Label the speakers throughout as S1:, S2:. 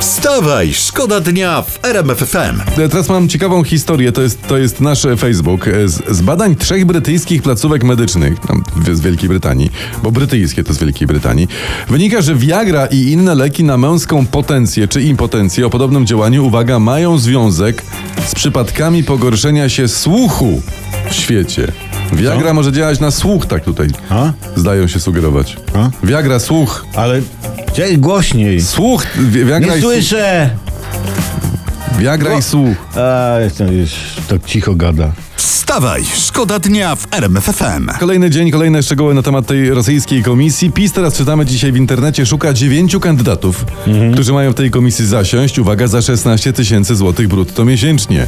S1: Wstawaj, szkoda dnia w RMFFM.
S2: E, Teraz mam ciekawą historię, to jest, to jest nasz e, Facebook. Z, z badań trzech brytyjskich placówek medycznych, tam w- z Wielkiej Brytanii, bo brytyjskie to z Wielkiej Brytanii, wynika, że Viagra i inne leki na męską potencję czy impotencję o podobnym działaniu, uwaga, mają związek z przypadkami pogorszenia się słuchu w świecie. Viagra może działać na słuch, tak tutaj
S3: A?
S2: zdają się sugerować.
S3: A?
S2: Viagra, słuch.
S3: Ale Cześć, głośniej.
S2: Słuch, Vi- Viagra,
S3: Nie
S2: i, słuch.
S3: słyszę.
S2: Viagra i słuch.
S3: A, to już tak cicho gada.
S1: Wstawaj, szkoda dnia w RMFFM.
S2: Kolejny dzień, kolejne szczegóły na temat tej rosyjskiej komisji. PiS teraz czytamy dzisiaj w internecie, szuka dziewięciu kandydatów,
S3: Mhm.
S2: którzy mają w tej komisji zasiąść, uwaga, za 16 tysięcy złotych brutto miesięcznie.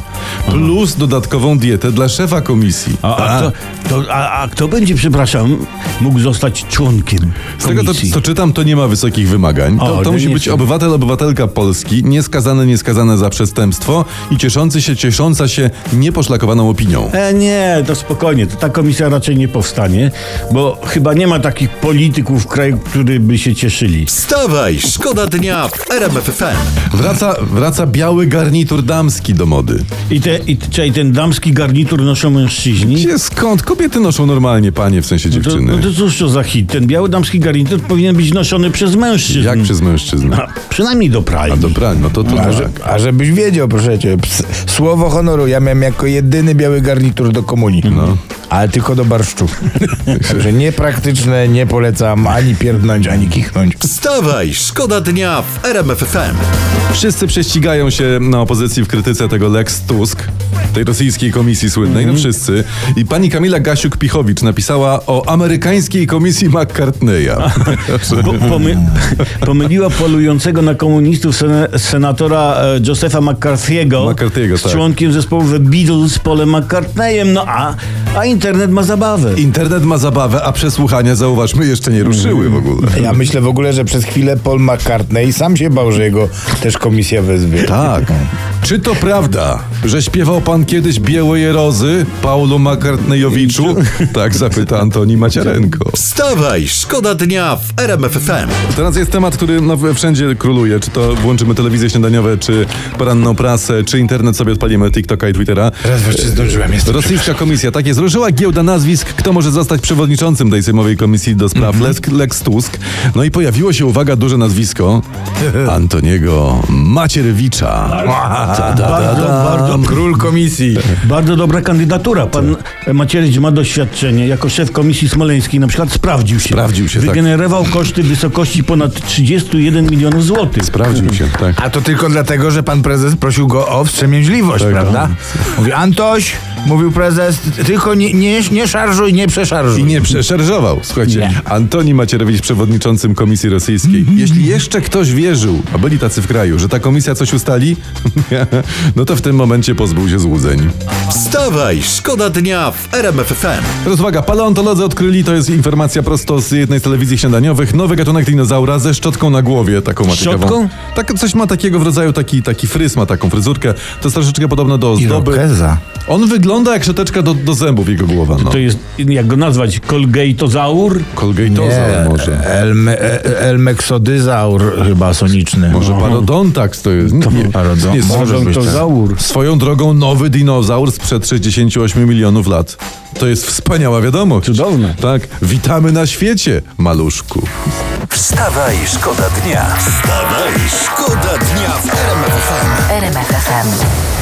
S2: Plus dodatkową dietę dla szefa komisji.
S3: Mhm. A, a,
S2: Tak.
S3: kto, to, a, a kto będzie, przepraszam, mógł zostać członkiem
S2: Z tego, co,
S3: komisji?
S2: co czytam, to nie ma wysokich wymagań.
S3: O,
S2: To, to
S3: to
S2: musi
S3: nie
S2: być
S3: wiem.
S2: obywatel, obywatelka Polski, nieskazany, nieskazane za przestępstwo i cieszący się, ciesząca się nieposzlakowaną opinią.
S3: E, nie, to spokojnie, to ta komisja raczej nie powstanie, bo chyba nie ma takich polityków w kraju, którzy by się cieszyli.
S1: Wstawaj, szkoda dnia w RMFFM.
S2: Wraca, wraca biały garnitur damski do mody.
S3: I, te, i czyli ten damski garnitur noszą mężczyźni?
S2: Gdzie skąd? Kobiety noszą normalnie panie, w sensie
S3: To,
S2: dziewczyny.
S3: no to cóż to za hit? Ten biały damski garnitur powinien być noszony przez mężczyzn.
S2: Jak przez mężczyzn?
S3: A, przynajmniej do pralni.
S2: A dobra, Mhm. no to to
S4: A,
S2: tak.
S4: że, a żebyś wiedział, proszę cię, ps, słowo honoru. Ja miałem jako jedyny biały garnitur do komunii.
S2: No.
S4: Ale tylko do barszczu. Także niepraktyczne, nie polecam ani pierdnąć, ani kichnąć.
S1: Wstawaj, szkoda dnia w RMFFM.
S2: Wszyscy prześcigają się na opozycji w krytyce tego Lex Tusk, tej rosyjskiej komisji słynnej, no wszyscy. I pani Kamila Gasiuk-Pichowicz napisała o amerykańskiej komisji McCartneya.
S3: Po, pomy, pomyliła polującego na komunistów sen, senatora e, Josepha McCarthy'ego
S2: McCarthy'ego,
S3: z
S2: tak.
S3: członkiem zespołu The Beatles Polem McCartneyem, no a, a internet ma zabawę.
S2: Internet ma zabawę, a przesłuchania, zauważmy, jeszcze nie ruszyły w ogóle.
S4: Ja myślę w ogóle, że przez chwilę Paul McCartney sam się bał, że jego też komisja wezwie.
S2: Tak. Czy to prawda, że śpiewał pan kiedyś Białej Rozy Paulu McCartneyowiczu? Tak zapyta Antoni Macierenko.
S1: Wstawaj, szkoda dnia w RMFFM.
S2: Teraz jest temat, który no, wszędzie króluje. Czy to włączymy telewizję śniadaniowe, czy poranną prasę, czy internet sobie odpalimy, TikToka i Twittera.
S4: Raz wreszcie zdążyłem, jestem
S2: Rosyjska komisja, tak jest, ruszyła giełda nazwisk, kto może zostać przewodniczącym tej sejmowej komisji do spraw Lex, Lex Tusk. No i pojawiło się, uwaga, duże nazwisko Antoniego Macierewicza.
S4: Tak.
S2: Ta, ta, ta,
S3: Bardzo,
S2: ta.
S3: bardzo,
S4: Król komisji.
S3: bardzo dobra kandydatura. Pan
S2: Tak.
S3: Macierewicz ma doświadczenie. Jako szef komisji smoleńskiej na przykład sprawdził się.
S2: Sprawdził się, tak.
S3: Wygenerował koszty w wysokości ponad 31 milionów złotych.
S2: Sprawdził się, tak.
S4: A to tylko dlatego, że pan prezes prosił go o wstrzemięźliwość,
S2: Tak,
S4: prawda? Mówi, Antoś, mówił prezes, ty- tylko nie, nie, nie szarżuj, nie przeszarżuj.
S2: I nie przeszarżował. Słuchajcie, Antoni Macierewicz, przewodniczącym Komisji Rosyjskiej. Jeśli jeszcze ktoś wierzył, a byli tacy w kraju, że ta komisja coś ustali, no to w tym momencie pozbył się złudzeń.
S1: Wstawaj, szkoda dnia w RMFFM.
S2: Teraz uwaga, paleontolodzy odkryli, to jest informacja prosto z jednej z telewizji śniadaniowych, nowy gatunek dinozaura ze szczotką na głowie, taką ma ciekawą.
S3: Szczotką?
S2: Tak, coś ma takiego w rodzaju, taki, taki fryz ma taką fryzurkę, to jest troszeczkę podobne do ozdoby.
S4: Irokeza.
S2: On wygląda jak szczoteczka do, do zębów, jego głowa, no.
S3: To jest, jak go nazwać, kolgejtozaur?
S2: Kolgejtozaur
S4: Nie,
S2: może.
S4: Elme, e- elmeksodyzaur chyba soniczny.
S2: Może parodontax to jest. Nie, nie,
S4: No, parodon-
S2: nie,
S4: może być tak.
S3: Kolgejtozaur.
S2: Swoją drogą nowy dinozaur sprzed 68 milionów lat. To jest wspaniała wiadomość.
S3: Cudowne.
S2: Tak, witamy na świecie, maluszku.
S1: Wstawaj, szkoda dnia. Wstawaj, szkoda dnia w RMFFM.
S5: RMFFM.